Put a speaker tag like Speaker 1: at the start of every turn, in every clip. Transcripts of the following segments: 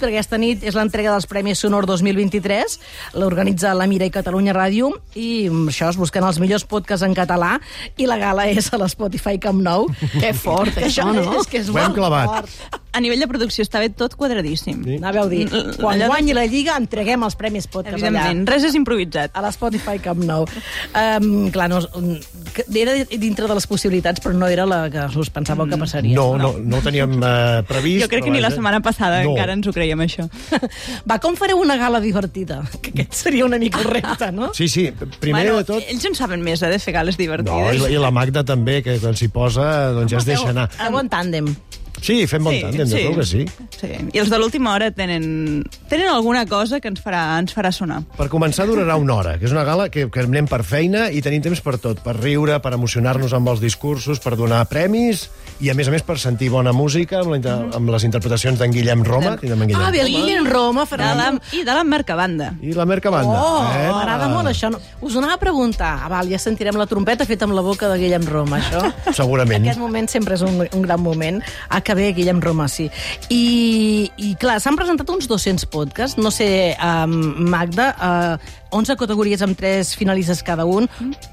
Speaker 1: Aquesta nit és l'entrega dels Premis Sonor 2023, l'organitza la Mira i Catalunya Ràdio, i mm, això és buscant els millors podcasts en català, i la gala és a l'Spotify Camp Nou. eh?
Speaker 2: Que fort, això, no?
Speaker 1: És que és
Speaker 3: Ho hem
Speaker 1: molt
Speaker 3: clavat.
Speaker 1: fort.
Speaker 2: A nivell de producció estava tot quadradíssim.
Speaker 3: Sí.
Speaker 1: Anàveu a dir,
Speaker 2: Mm,
Speaker 1: quan
Speaker 2: allò de-
Speaker 1: guanyi la Lliga entreguem els Premis Podcast allà.
Speaker 2: Evidentment, res és improvisat.
Speaker 1: A l'Spotify Camp Nou. Um, clar, no, mm, que era dintre de les possibilitats, però no era la que us pensàveu que passaria.
Speaker 3: Mm, No, no, no ho teníem eh, previst.
Speaker 2: Jo crec que
Speaker 3: però
Speaker 2: ni la
Speaker 3: vaja.
Speaker 2: setmana passada
Speaker 3: no.
Speaker 2: encara ens ho creiem, això.
Speaker 1: Va, com fareu una gala divertida? Que aquest seria una mica el repte, no?
Speaker 3: Sí, sí, primer
Speaker 2: bueno,
Speaker 3: de tot...
Speaker 2: ells en saben més, eh, de fer gales
Speaker 3: No, i,
Speaker 2: divertides.
Speaker 3: la- i la Magda també, que quan s'hi posa doncs ja es deixa anar.
Speaker 1: Esteu en tàndem.
Speaker 3: Sí, fem bon tàndem, jo crec que sí.
Speaker 2: sí. I els de l'última hora tenen, tenen alguna cosa que ens farà, ens farà sonar.
Speaker 3: Per començar durarà una hora, que és una gala que, que anem per feina i tenim temps per tot, per riure, per emocionar-nos amb els discursos, per donar premis i, a més a més, per sentir bona música amb, la, inter-
Speaker 2: Mm-hmm.
Speaker 3: amb les interpretacions d'en Guillem Roma. Tindrem en Guillem.
Speaker 1: Ah, bé, el Guillem Roma
Speaker 2: De
Speaker 1: farà
Speaker 2: la,
Speaker 1: la...
Speaker 2: I de la Mercabanda.
Speaker 3: I la Merca Banda.
Speaker 1: Oh,
Speaker 3: eh?
Speaker 1: m'agrada molt això. No, us ho anava a preguntar. Ah, val, ja sentirem la trompeta feta amb la boca de Guillem Roma, això.
Speaker 3: Segurament.
Speaker 1: Aquest moment sempre és un, un gran moment. Ah, que bé, Guillem Roma, sí. I, i clar, s'han presentat uns 200 podcasts. No sé, um, Magda, uh, 11 categories amb 3 finalistes cada un.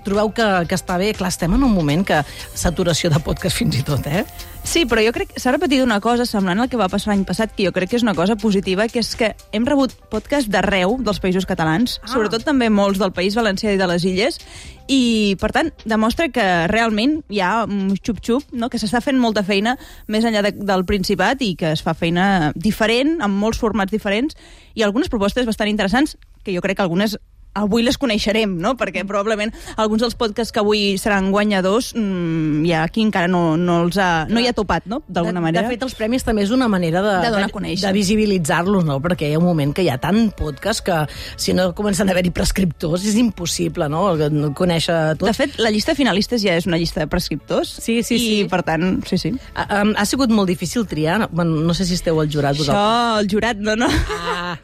Speaker 1: Trobeu que, que està bé? Clar, estem en un moment que saturació de podcast fins i tot, eh?
Speaker 2: Sí, però jo crec que s'ha repetit una cosa semblant al que va passar l'any passat, que jo crec que és una cosa positiva, que és que hem rebut podcast d'arreu dels països catalans,
Speaker 1: Ah.
Speaker 2: ah. sobretot també molts del País Valencià i de les Illes, i, per tant, demostra que realment hi ha un xup-xup, no? que s'està fent molta feina més enllà de, del Principat i que es fa feina diferent, amb molts formats diferents, i algunes propostes bastant interessants, que jo crec que algunes avui les coneixerem, no? Perquè probablement alguns dels podcasts que avui seran guanyadors mm, hi ha qui encara no, no, els ha, no hi ha topat, no? D'alguna
Speaker 1: De-
Speaker 2: manera.
Speaker 1: De fet, els premis també és una manera de,
Speaker 2: De donar a conèixer.
Speaker 1: de visibilitzar-los, no? Perquè hi ha un moment que hi ha tant podcast que si no comencen a haver-hi prescriptors és impossible, no? no Conèixer tot.
Speaker 2: de fet, la llista de finalistes ja és una llista de prescriptors.
Speaker 1: Sí, sí,
Speaker 2: i,
Speaker 1: sí.
Speaker 2: per tant, sí, sí.
Speaker 1: Ha, ha- ha sigut molt difícil triar. No, bueno, no sé si esteu al jurat vosaltres.
Speaker 2: Això, el jurat, no, no.
Speaker 1: Ah.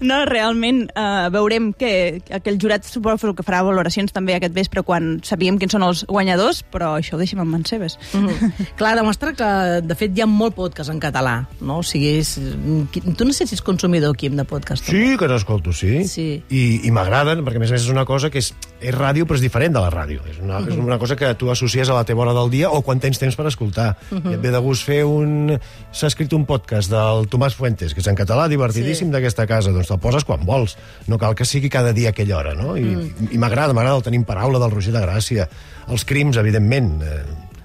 Speaker 2: No, realment, eh, veurem que aquell jurat suposo que farà valoracions també aquest vespre quan sapiguem quins són els guanyadors, però això ho deixem en mans seves.
Speaker 1: Mm. Clar, demostra que, de fet, hi ha molt podcast en català, no? O sigui, és... qui- tu no sé si ets consumidor, Quim, de podcast. o no?
Speaker 3: Sí, que t'escolto, sí.
Speaker 1: Sí.
Speaker 3: I, i m'agraden, perquè a més a més és una cosa que és, és ràdio, però és diferent de la ràdio. És una,
Speaker 1: Mhm.
Speaker 3: és una cosa que tu associes a la teva hora del dia o quan tens temps per escoltar.
Speaker 1: Mhm.
Speaker 3: I et ve de gust fer un... S'ha escrit un podcast del Tomàs Fuentes, que és en català, divertidíssim
Speaker 1: Sí.
Speaker 3: sí. d'aquesta casa. Doncs te'l poses quan vols. No cal que sigui cada dia a aquella hora, no? I,
Speaker 1: Mm.
Speaker 3: i m'agrada, m'agrada el Tenim Paraula del Roger de Gràcia. Els crims, evidentment. Eh,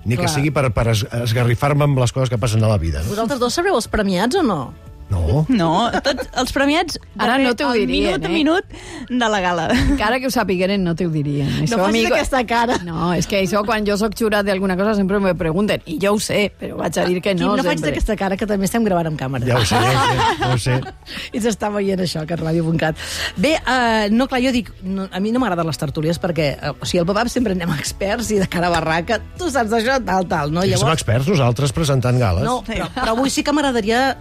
Speaker 3: ni que
Speaker 1: Clar.
Speaker 3: sigui per, per es- esgarrifar-me amb les coses que passen a la vida, no?
Speaker 1: Vosaltres dos sabreu els premiats o no?
Speaker 3: No.
Speaker 2: No, tots els premiats
Speaker 4: Ara
Speaker 2: darrer-
Speaker 4: no t'ho
Speaker 2: al
Speaker 4: dirien,
Speaker 2: minut a
Speaker 4: eh?
Speaker 2: minut de la gala.
Speaker 4: Encara que ho sapigueren, no te ho dirien. Això,
Speaker 1: facis
Speaker 4: amigo-
Speaker 1: aquesta cara.
Speaker 4: No, és que això, quan jo sóc jurat d'alguna cosa, sempre me pregunten, i jo ho sé, però vaig a dir que no,
Speaker 1: Quim, no faig
Speaker 4: sempre.
Speaker 1: aquesta cara, que també estem gravant amb càmera.
Speaker 3: Ja ho sé, ja ho sé. Ja ho sé.
Speaker 1: I s'està veient això, que ràdio.cat. Bé, uh, no, clar, jo dic, no, a mi no m'agraden les tertúlies perquè, uh, o sigui, al papà sempre anem experts i de cara a barraca, tu saps això, tal, tal, no?
Speaker 3: I Som experts nosaltres presentant gales.
Speaker 1: no, però, però avui sí que m'agradaria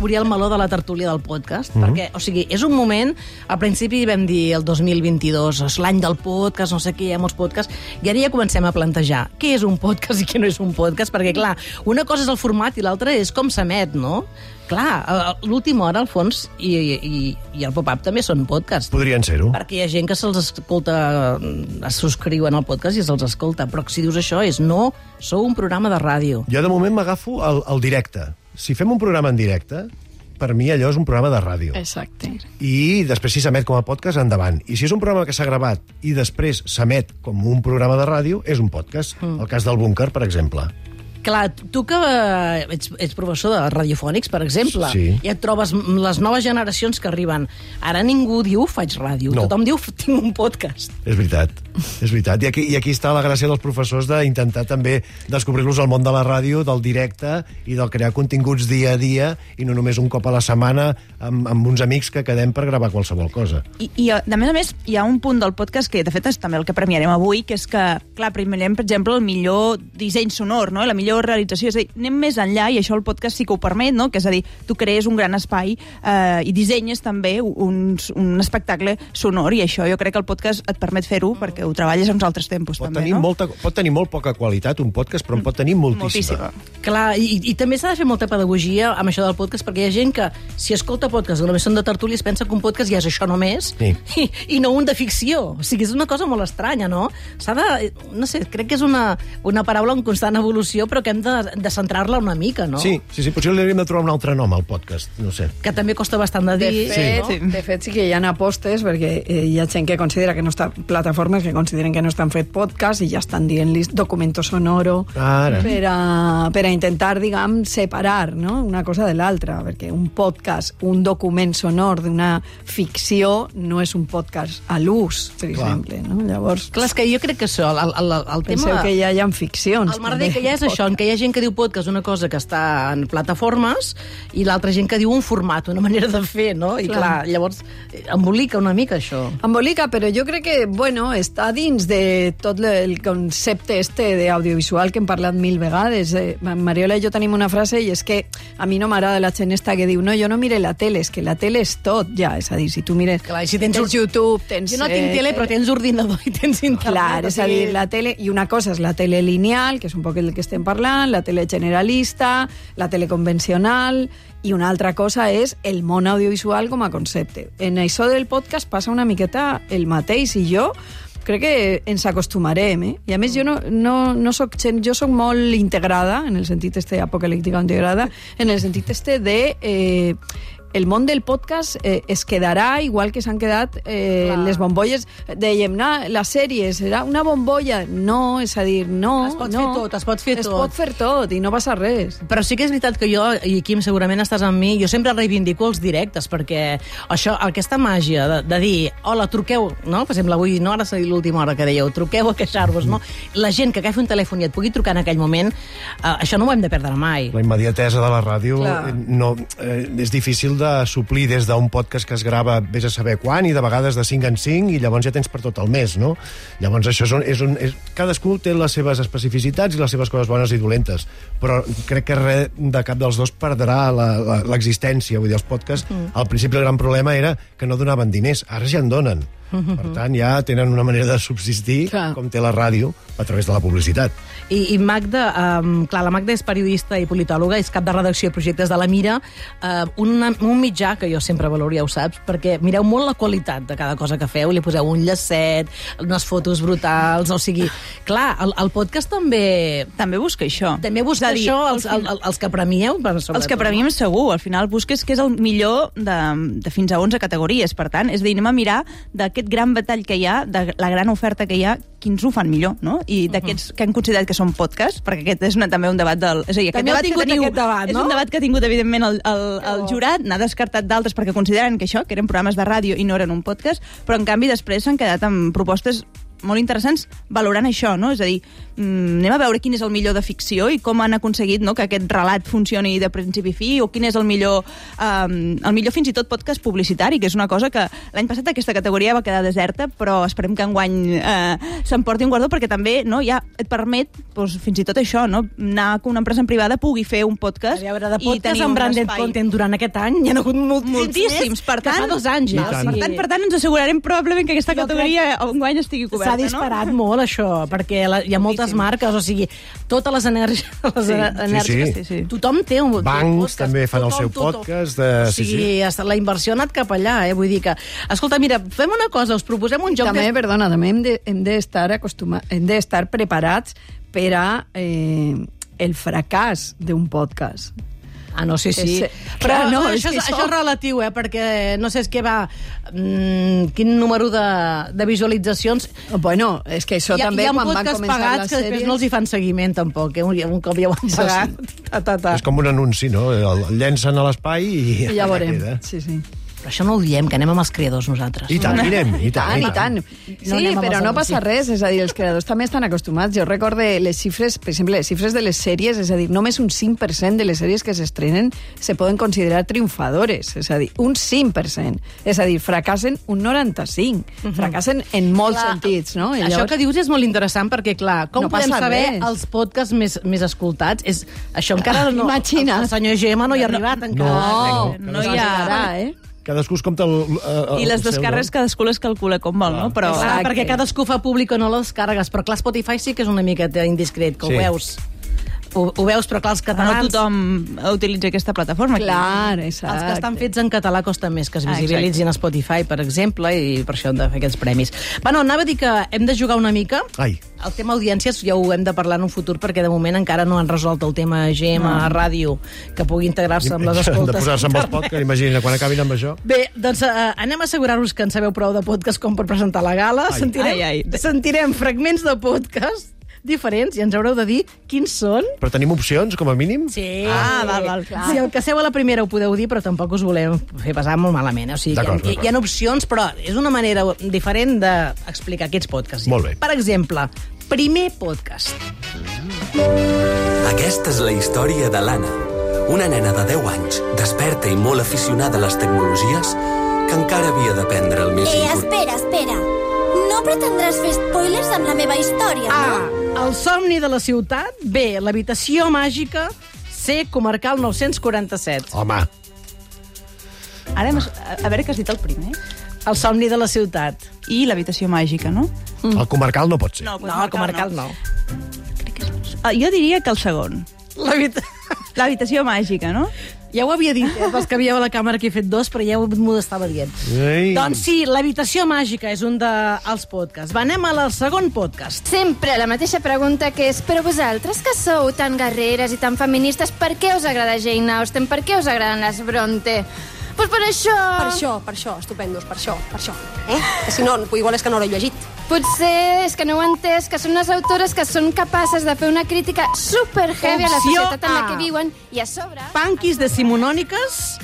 Speaker 1: obrir el meló de la tertúlia del podcast, mm -hmm. perquè, o sigui, és un moment, al principi vam dir el 2022, és l'any del podcast, no sé què, hi ha molts podcasts, i ara ja comencem a plantejar què és un podcast i què no és un podcast, perquè, clar, una cosa és el format i l'altra és com s'emet, no? Clar, a- a l'última hora, al fons, i, i, i el pop-up també són podcasts.
Speaker 3: Podrien ser-ho.
Speaker 1: Perquè hi ha gent que se'ls escolta, eh, es subscriuen al podcast i se'ls escolta, però si dius això és no, sou un programa de ràdio.
Speaker 3: Jo de moment m'agafo al, al directe. Si fem un programa en directe, per mi allò és un programa de ràdio.
Speaker 4: Eh. Exacte.
Speaker 3: I després si s'emet com a podcast, endavant. I si és un programa que s'ha gravat i després s'emet com un programa de ràdio, és un podcast. Mm. El cas del búnquer, per exemple.
Speaker 1: Clar, tu que eh, ets, ets professor de radiofònics, per exemple,
Speaker 3: Sí.
Speaker 1: i et trobes m- les noves generacions que arriben. Ara ningú diu faig ràdio,
Speaker 3: No.
Speaker 1: tothom diu tinc un podcast.
Speaker 3: És veritat, és veritat. I aquí, i aquí està la gràcia dels professors d'intentar també descobrir-los el món de la ràdio, del directe i del crear continguts dia a dia i no només un cop a la setmana amb, amb uns amics que quedem per gravar qualsevol cosa.
Speaker 2: I, I, a- de més a més, hi ha un punt del podcast que, de fet, és també el que premiarem avui, que és que, clar, premiarem, per exemple, el millor disseny sonor, no? la millor millor realització. És a dir, anem més enllà, i això el podcast sí que ho permet, no? que és a dir, tu crees un gran espai eh, i dissenyes també uns, un espectacle sonor, i això jo crec que el podcast et permet fer-ho perquè ho treballes a uns altres tempos.
Speaker 3: Pot
Speaker 2: també,
Speaker 3: tenir,
Speaker 2: no?
Speaker 3: molta, pot tenir molt poca qualitat un podcast, però en pot tenir moltíssima.
Speaker 2: Moltíssima.
Speaker 1: Clar, i, i també s'ha de fer molta pedagogia amb això del podcast, perquè hi ha gent que, si escolta podcast que només són de tertúlies, pensa que un podcast ja és això només,
Speaker 3: Sí.
Speaker 1: i, i no un de ficció. O sigui, és una cosa molt estranya, no? S'ha de... No sé, crec que és una, una paraula en constant evolució, però que hem de, de centrar-la una mica, no?
Speaker 3: Sí, sí, sí, potser li hauríem de trobar un altre nom al podcast, no sé.
Speaker 1: Que també costa bastant de
Speaker 4: De
Speaker 1: dir.
Speaker 4: fet,
Speaker 1: no?
Speaker 4: sí. de fet, sí que hi ha apostes, perquè eh, hi ha gent que considera que no està... Plataformes que consideren que no estan fet podcast i ja estan dient-li documento sonoro
Speaker 3: Ara.
Speaker 4: per a, per a intentar, diguem, separar no? una cosa de l'altra, perquè un podcast, un document sonor d'una ficció no és un podcast a l'ús, per
Speaker 3: Clar.
Speaker 4: exemple. No? Llavors,
Speaker 1: Clar, és que jo crec que això, el, el, el, el
Speaker 4: penseu
Speaker 1: tema...
Speaker 4: que ja hi ha ficcions.
Speaker 1: El merder que hi ha és això, en què hi ha gent que diu podcast una cosa que està en plataformes i l'altra gent que diu un format, una manera de fer, no? I clar,
Speaker 4: Clar.
Speaker 1: llavors eh, embolica una mica això.
Speaker 4: Embolica, però jo crec que, bueno, està dins de tot le- el concepte este d'audiovisual que hem parlat mil vegades. Eh, Mariola i jo tenim una frase i és que a mi no m'agrada la gent esta que diu no, jo no mire la tele, és que la tele és tot ja, és a dir, si tu mires...
Speaker 1: Clar, i si tens un-
Speaker 4: YouTube, tens...
Speaker 1: Jo no tinc
Speaker 4: eh,
Speaker 1: tele, però tens ordinador i tens internet.
Speaker 4: Clar,
Speaker 1: o
Speaker 4: és a
Speaker 1: sigui,
Speaker 4: dir, la tele... I una cosa és la tele lineal, que és un poc el que estem parlant, la tele generalista, la tele convencional, i una altra cosa és el món audiovisual com a concepte. En això del podcast passa una miqueta el mateix, i jo crec que ens acostumarem, eh? I a més jo no, no, no soc gent, jo soc molt integrada, en el sentit este apocalíptica integrada, en el sentit este de... Eh, el món del podcast eh, es quedarà igual que s'han quedat eh,
Speaker 1: Clar.
Speaker 4: les bombolles. Dèiem, na, la sèrie serà una bombolla. No, és a dir, no.
Speaker 1: Es pot
Speaker 4: no.
Speaker 1: fer tot, es pot fer
Speaker 4: Es
Speaker 1: tot.
Speaker 4: pot fer tot i no passa res.
Speaker 1: Però sí que és veritat que jo, i Quim segurament estàs amb mi, jo sempre reivindico els directes, perquè això, aquesta màgia de, de dir, hola, truqueu, no? Per exemple, avui, no, ara s'ha dit l'última hora que dèieu, truqueu a queixar-vos, no? La gent que agafi un telèfon i et pugui trucar en aquell moment, eh, això no ho hem de perdre mai.
Speaker 3: La immediatesa de la ràdio
Speaker 4: Clar.
Speaker 3: eh, no, eh, és difícil de suplir des d'un podcast que es grava vés a saber quan i de vegades de 5 en 5 i llavors ja tens per tot el mes, no? Llavors això és un, és un, és, cadascú té les seves especificitats i les seves coses bones i dolentes però crec que res de cap dels dos perdrà la- la- l'existència, vull dir, els podcasts mm. al principi el gran problema era que no donaven diners, ara ja en donen per tant, ja tenen una manera de subsistir
Speaker 4: Clar.
Speaker 3: com té la ràdio a través de la publicitat.
Speaker 1: I, i Magda, um, clar, la Magda és periodista i politòloga, és cap de redacció i projectes de La Mira, uh, un, un mitjà que jo sempre valoro, ja ho saps, perquè mireu molt la qualitat de cada cosa que feu, li poseu un llacet, unes fotos brutals, o sigui... Clar, el, el podcast també...
Speaker 2: També busca això.
Speaker 1: També
Speaker 2: És
Speaker 1: busca
Speaker 2: a dir,
Speaker 1: això,
Speaker 2: al
Speaker 1: els,
Speaker 2: final-
Speaker 1: el, el, els que premieu, per sobretot.
Speaker 2: Els que premiem segur, al final busques que és el millor de, de fins a 11 categories, per tant, és a dir, anem a mirar d'aquest gran batall que hi ha, de la gran oferta que hi ha, quins ho fan millor, no? I
Speaker 4: Mhm.
Speaker 2: d'aquests que han considerat que són podcasts, perquè aquest és una, també un debat del... És a dir, aquest
Speaker 4: També heu
Speaker 2: debat que
Speaker 4: tingut
Speaker 2: teniu,
Speaker 4: aquest debat,
Speaker 2: És
Speaker 4: no?
Speaker 2: un debat que ha tingut, evidentment, el, el, el jurat, n'ha descartat d'altres perquè consideren que això, que eren programes de ràdio i no eren un podcast, però en canvi després s'han quedat amb propostes molt interessants valorant això, no? És a dir, mm, anem a veure quin és el millor de ficció i com han aconseguit no, que aquest relat funcioni de principi a fi o quin és el millor, um, el millor fins i tot podcast publicitari, que és una cosa que l'any passat aquesta categoria va quedar deserta, però esperem que enguany eh, s'emporti un guardó perquè també no, ja et permet doncs, fins i tot això, no, anar que una empresa en privada pugui fer un podcast
Speaker 1: A veure, de
Speaker 2: i tenir
Speaker 1: podcast amb
Speaker 2: un
Speaker 1: branded
Speaker 2: espai.
Speaker 1: content durant aquest any n'hi ha hagut moltíssims,
Speaker 2: Moltíssims, per tant,
Speaker 1: que fa dos anys. eh? ja,
Speaker 3: I
Speaker 1: o
Speaker 3: tant.
Speaker 2: Per
Speaker 1: sigui-
Speaker 2: tant, per tant, ens assegurarem probablement que aquesta
Speaker 1: Jo crec-
Speaker 2: categoria enguany estigui coberta,
Speaker 1: S'ha disparat molt, això, perquè la, hi ha moltes marques, o sigui, totes les energies... Les
Speaker 2: Sí,
Speaker 1: energies
Speaker 3: sí,
Speaker 2: sí.
Speaker 1: Tothom té un, té un
Speaker 3: Bancs
Speaker 1: podcast,
Speaker 3: també fan el seu podcast, eh,
Speaker 1: o
Speaker 3: sí,
Speaker 1: sigui, sí. la inversió ha anat cap allà, eh? Vull dir que... Escolta, mira, fem una cosa, us proposem un joc...
Speaker 4: també,
Speaker 1: que...
Speaker 4: perdona, també hem de- hem d'estar de, acostuma... hem d'estar preparats per a eh, el fracàs d'un podcast.
Speaker 1: Ah, no, sí, sí.
Speaker 4: És-
Speaker 1: Però
Speaker 4: clar,
Speaker 1: no,
Speaker 4: no, és
Speaker 1: això,
Speaker 4: que
Speaker 1: és, això
Speaker 4: això-
Speaker 1: és relatiu, eh? Perquè no sé, és que va... Mm, quin número de, de visualitzacions...
Speaker 4: Bueno, és que això
Speaker 1: hi ha,
Speaker 4: també
Speaker 1: hi ha
Speaker 4: quan van
Speaker 1: podcasts
Speaker 4: començar
Speaker 1: pagats
Speaker 4: les
Speaker 1: que després
Speaker 4: sèries...
Speaker 1: no els hi fan seguiment, tampoc. Eh? Un, un cop ja ho han
Speaker 4: Això sí.
Speaker 1: pagat. Ta, ta, ta.
Speaker 3: És com un anunci, no? El, el llencen a l'espai i...
Speaker 4: I ja
Speaker 3: allà
Speaker 4: veurem.
Speaker 3: queda.
Speaker 4: Sí, sí.
Speaker 1: Però això no ho diem, que anem amb els creadors nosaltres.
Speaker 3: I tant, mirem, i tant,
Speaker 4: i
Speaker 1: No
Speaker 4: tant. sí,
Speaker 1: anem amb
Speaker 4: però
Speaker 1: els
Speaker 4: no
Speaker 1: altres,
Speaker 4: passa
Speaker 1: sí.
Speaker 4: res, és a dir, els creadors també estan acostumats. Jo recorde les xifres, per exemple, les xifres de les sèries, és a dir, només un 5% de les sèries que s'estrenen se poden considerar triomfadores, és a dir, un 5%. És a dir, fracassen un 95. Fracassen en molts
Speaker 1: Mhm. Clar,
Speaker 4: sentits, no? I
Speaker 1: Això que dius és molt interessant perquè, clar, com
Speaker 4: No
Speaker 1: podem
Speaker 4: passa
Speaker 1: saber
Speaker 4: res.
Speaker 1: els podcasts més, més escoltats? És, això encara no...
Speaker 4: Imagina't.
Speaker 1: El, el senyor Gemma no hi ha arribat encara.
Speaker 4: No,
Speaker 2: No, no
Speaker 4: no hi
Speaker 2: hi ha-
Speaker 4: ha... Eh?
Speaker 3: Cadascú es compta el, el, el
Speaker 2: I les
Speaker 3: seu, no?
Speaker 2: descarres cadascú les calcula com vol, no?
Speaker 1: Però,
Speaker 2: Però...
Speaker 1: clar,
Speaker 4: Exacte.
Speaker 1: perquè cadascú fa públic o no les càrregues, però clar, Spotify sí que és una miqueta indiscret, que
Speaker 3: Sí.
Speaker 1: ho veus. Ho, ho veus, però clar, els
Speaker 2: No
Speaker 1: catalans...
Speaker 2: tothom utilitza aquesta plataforma.
Speaker 4: Clar,
Speaker 1: Els que estan
Speaker 4: exacte.
Speaker 1: fets en català costa més que es
Speaker 2: Ah, exacte.
Speaker 1: visibilitzin a Spotify, per exemple, i per això hem de fer aquests premis. Bueno, anava a dir que hem de jugar una mica.
Speaker 3: Ai.
Speaker 1: El tema audiències ja ho hem de parlar en un futur, perquè de moment encara no han resolt el tema GM a ràdio, que pugui integrar-se amb les
Speaker 3: Han de
Speaker 1: escoltes.
Speaker 3: posar-se amb els podcasts, imagina, quan acabin amb això.
Speaker 1: Bé, doncs uh, anem a assegurar-vos que en sabeu prou de podcast com per presentar la gala.
Speaker 3: Ai.
Speaker 1: sentirem,
Speaker 2: Ai, ai.
Speaker 1: sentirem fragments de podcast diferents i ens haureu de dir quins són.
Speaker 3: Però tenim opcions, com a mínim?
Speaker 1: Sí.
Speaker 2: Ah, val, val.
Speaker 1: Si el que seu a la primera ho podeu dir, però tampoc us volem fer passar molt malament. eh? O sigui, hi ha,
Speaker 3: D'acord,
Speaker 1: hi,
Speaker 3: d'acord.
Speaker 1: hi ha opcions, però és una manera diferent d'explicar aquests podcasts.
Speaker 3: Molt bé.
Speaker 1: Per exemple, primer podcast.
Speaker 5: Aquesta és la història de l'Anna, una nena de 10 anys, desperta i molt aficionada a les tecnologies, que encara havia d'aprendre el més
Speaker 6: Eh,
Speaker 5: important.
Speaker 6: espera, espera. No pretendràs fer spoilers amb la meva història,
Speaker 7: Ah.
Speaker 1: A.
Speaker 6: no?
Speaker 1: Ah, El somni de la ciutat. B. L'habitació màgica. C. Comarcal 947.
Speaker 3: Home,
Speaker 2: Ara, hem- a a veure què has dit el primer.
Speaker 1: El somni de la ciutat.
Speaker 2: I l'habitació màgica, no?
Speaker 3: el comarcal no pot ser.
Speaker 1: No, el comarcal no.
Speaker 2: Ah, Jo diria que el segon.
Speaker 1: La veritat...
Speaker 2: L'habitació màgica, no?
Speaker 1: Ja ho havia dit, eh, pels que havíeu a la càmera que he fet dos, però ja ho- m'ho estava dient.
Speaker 3: Ei.
Speaker 1: Doncs sí, l'habitació màgica és un dels podcasts. Va, anem al segon podcast.
Speaker 8: Sempre la mateixa pregunta que és però vosaltres que sou tan guerreres i tan feministes, per què us agrada Jane Austen? Per què us agraden les Bronte? Pues per això...
Speaker 9: Per això, per això, estupendos, per això, per això. Eh? Que si no, igual és que no l'he llegit.
Speaker 8: Potser és que no ho he entès, que són unes autores que són capaces de fer una crítica super heavy a la
Speaker 1: Opció
Speaker 8: societat en la
Speaker 1: A.
Speaker 8: que viuen i a sobre...
Speaker 1: Panquis de Simonòniques,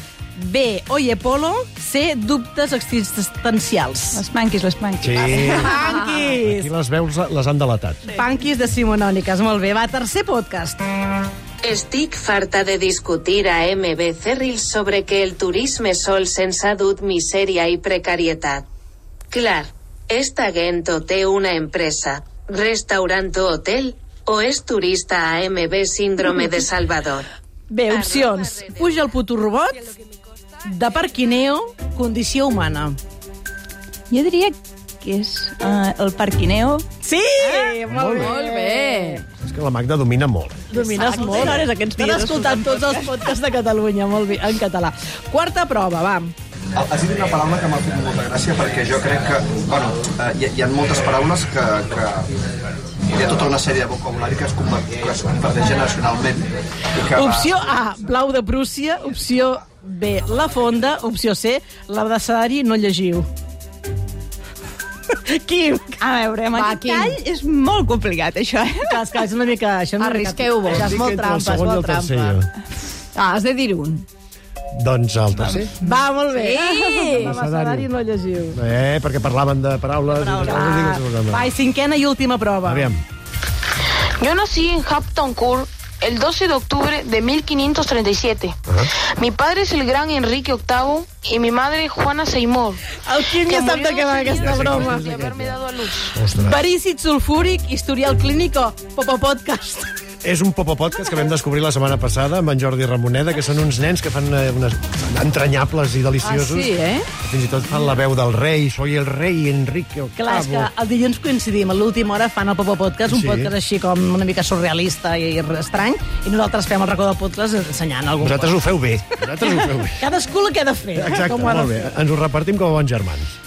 Speaker 1: B. Oye Polo, C. Dubtes existencials.
Speaker 2: Les manquis, les manquis.
Speaker 3: Sí.
Speaker 1: Panquis!
Speaker 3: Aquí les veus les han delatat.
Speaker 1: Panquis de Simonòniques, molt bé. Va, tercer podcast.
Speaker 10: Estic farta de discutir a MBC Reels sobre que el turisme sol sense ha dut misèria i precarietat. Clar, esta gent o té una empresa, restaurant o hotel, o és turista a MB síndrome de Salvador.
Speaker 1: Bé, opcions. Puja el puto robot, de parquineo, condició humana.
Speaker 2: Jo diria que és uh, el parquineo.
Speaker 1: Sí!
Speaker 4: Ah,
Speaker 3: Molt bé.
Speaker 4: Molt bé.
Speaker 3: És que la Magda domina molt.
Speaker 1: Domines molt. Hores aquests dies. T'han escoltat tots els podcasts de Catalunya, molt bé, en català. Quarta prova, va.
Speaker 7: Has dit una paraula que m'ha fet molta gràcia perquè jo crec que, bueno, eh, hi, ha- hi ha moltes paraules que, que hi ha tota una sèrie de vocabulari que es, conver- que es converteix generacionalment. i Que,
Speaker 1: Opció A, blau de Prússia. Opció B, la fonda. Opció C, l'abecedari no llegiu. Quim,
Speaker 2: A veure, amb
Speaker 4: Va,
Speaker 2: aquest
Speaker 4: quin?
Speaker 2: tall és molt complicat, això, eh?
Speaker 1: que, que és una mica... Això és una mica-
Speaker 4: Arrisqueu-vos.
Speaker 1: Això és molt
Speaker 3: Dic entre
Speaker 1: trampa, és
Speaker 3: el segon i
Speaker 1: molt
Speaker 3: el tercer,
Speaker 1: trampa.
Speaker 4: Ah, has de dir un.
Speaker 3: jo. Doncs el tercer.
Speaker 1: Va, molt bé.
Speaker 4: Sí.
Speaker 1: L'abecedari no llegiu.
Speaker 3: Eh, perquè parlaven de paraules... i de coses,
Speaker 1: Va,
Speaker 3: digues,
Speaker 1: i Ah, cinquena i última prova.
Speaker 3: Aviam.
Speaker 10: Yo nací en Hampton Court el 12 de octubre de 1537. Mi padre es el gran Enrique VIII y mi madre Juana Seymour.
Speaker 1: El Quim ja sap de què va aquesta broma.
Speaker 10: haberme dado a luz.
Speaker 3: Ostres.
Speaker 1: Perícid sulfúric, historial clínic o popopodcast.
Speaker 3: És un popopodcast que vam descobrir la setmana passada amb en Jordi Ramoneda, que són uns nens que fan eh, unes entranyables i deliciosos.
Speaker 4: Ah, sí, eh?
Speaker 3: Fins i tot fan la veu del rei, soy el rei Enrique VIII.
Speaker 1: Clar, és que el dilluns coincidim, a l'última hora fan el Popo Podcast, un
Speaker 3: Sí.
Speaker 1: podcast així com una mica surrealista i estrany, i nosaltres fem el racó del podcast ensenyant algú.
Speaker 3: Vosaltres ho feu bé. Vosaltres ho feu bé.
Speaker 1: Cadascú la que ha de fer.
Speaker 3: Exacte,
Speaker 1: com ho ha de
Speaker 3: molt bé. Ens ho repartim com a bons germans.